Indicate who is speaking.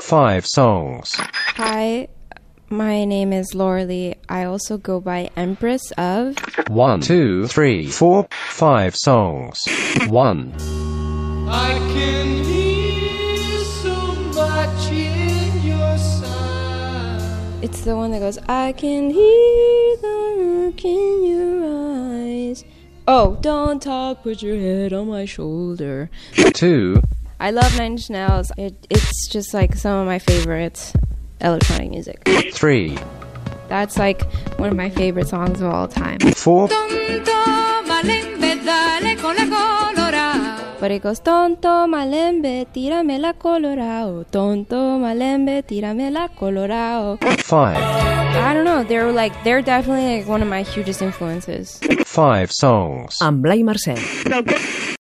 Speaker 1: Five songs.
Speaker 2: Hi, my name is Laura Lee. I also go by Empress of.
Speaker 1: One, two, three, four, five songs. One,
Speaker 3: I can hear so much in your sigh.
Speaker 2: It's the one that goes, I can hear the look in your eyes. Oh, don't talk, put your head on my shoulder.
Speaker 1: two,
Speaker 2: I love Nine Inch Nails. It, it's just like some of my favorite electronic music.
Speaker 1: three,
Speaker 2: That's like one of my favorite songs of all time.
Speaker 1: four,
Speaker 4: Tonto, malembe, dale con la colorada.
Speaker 2: But it goes, Tonto malembe, tirame la colorao. Tonto malembe, tirame la colorao.
Speaker 1: five,
Speaker 2: I don't know. They're like, they're definitely like one of my hugest influences.
Speaker 1: five songs.
Speaker 5: amb Blai Mercè.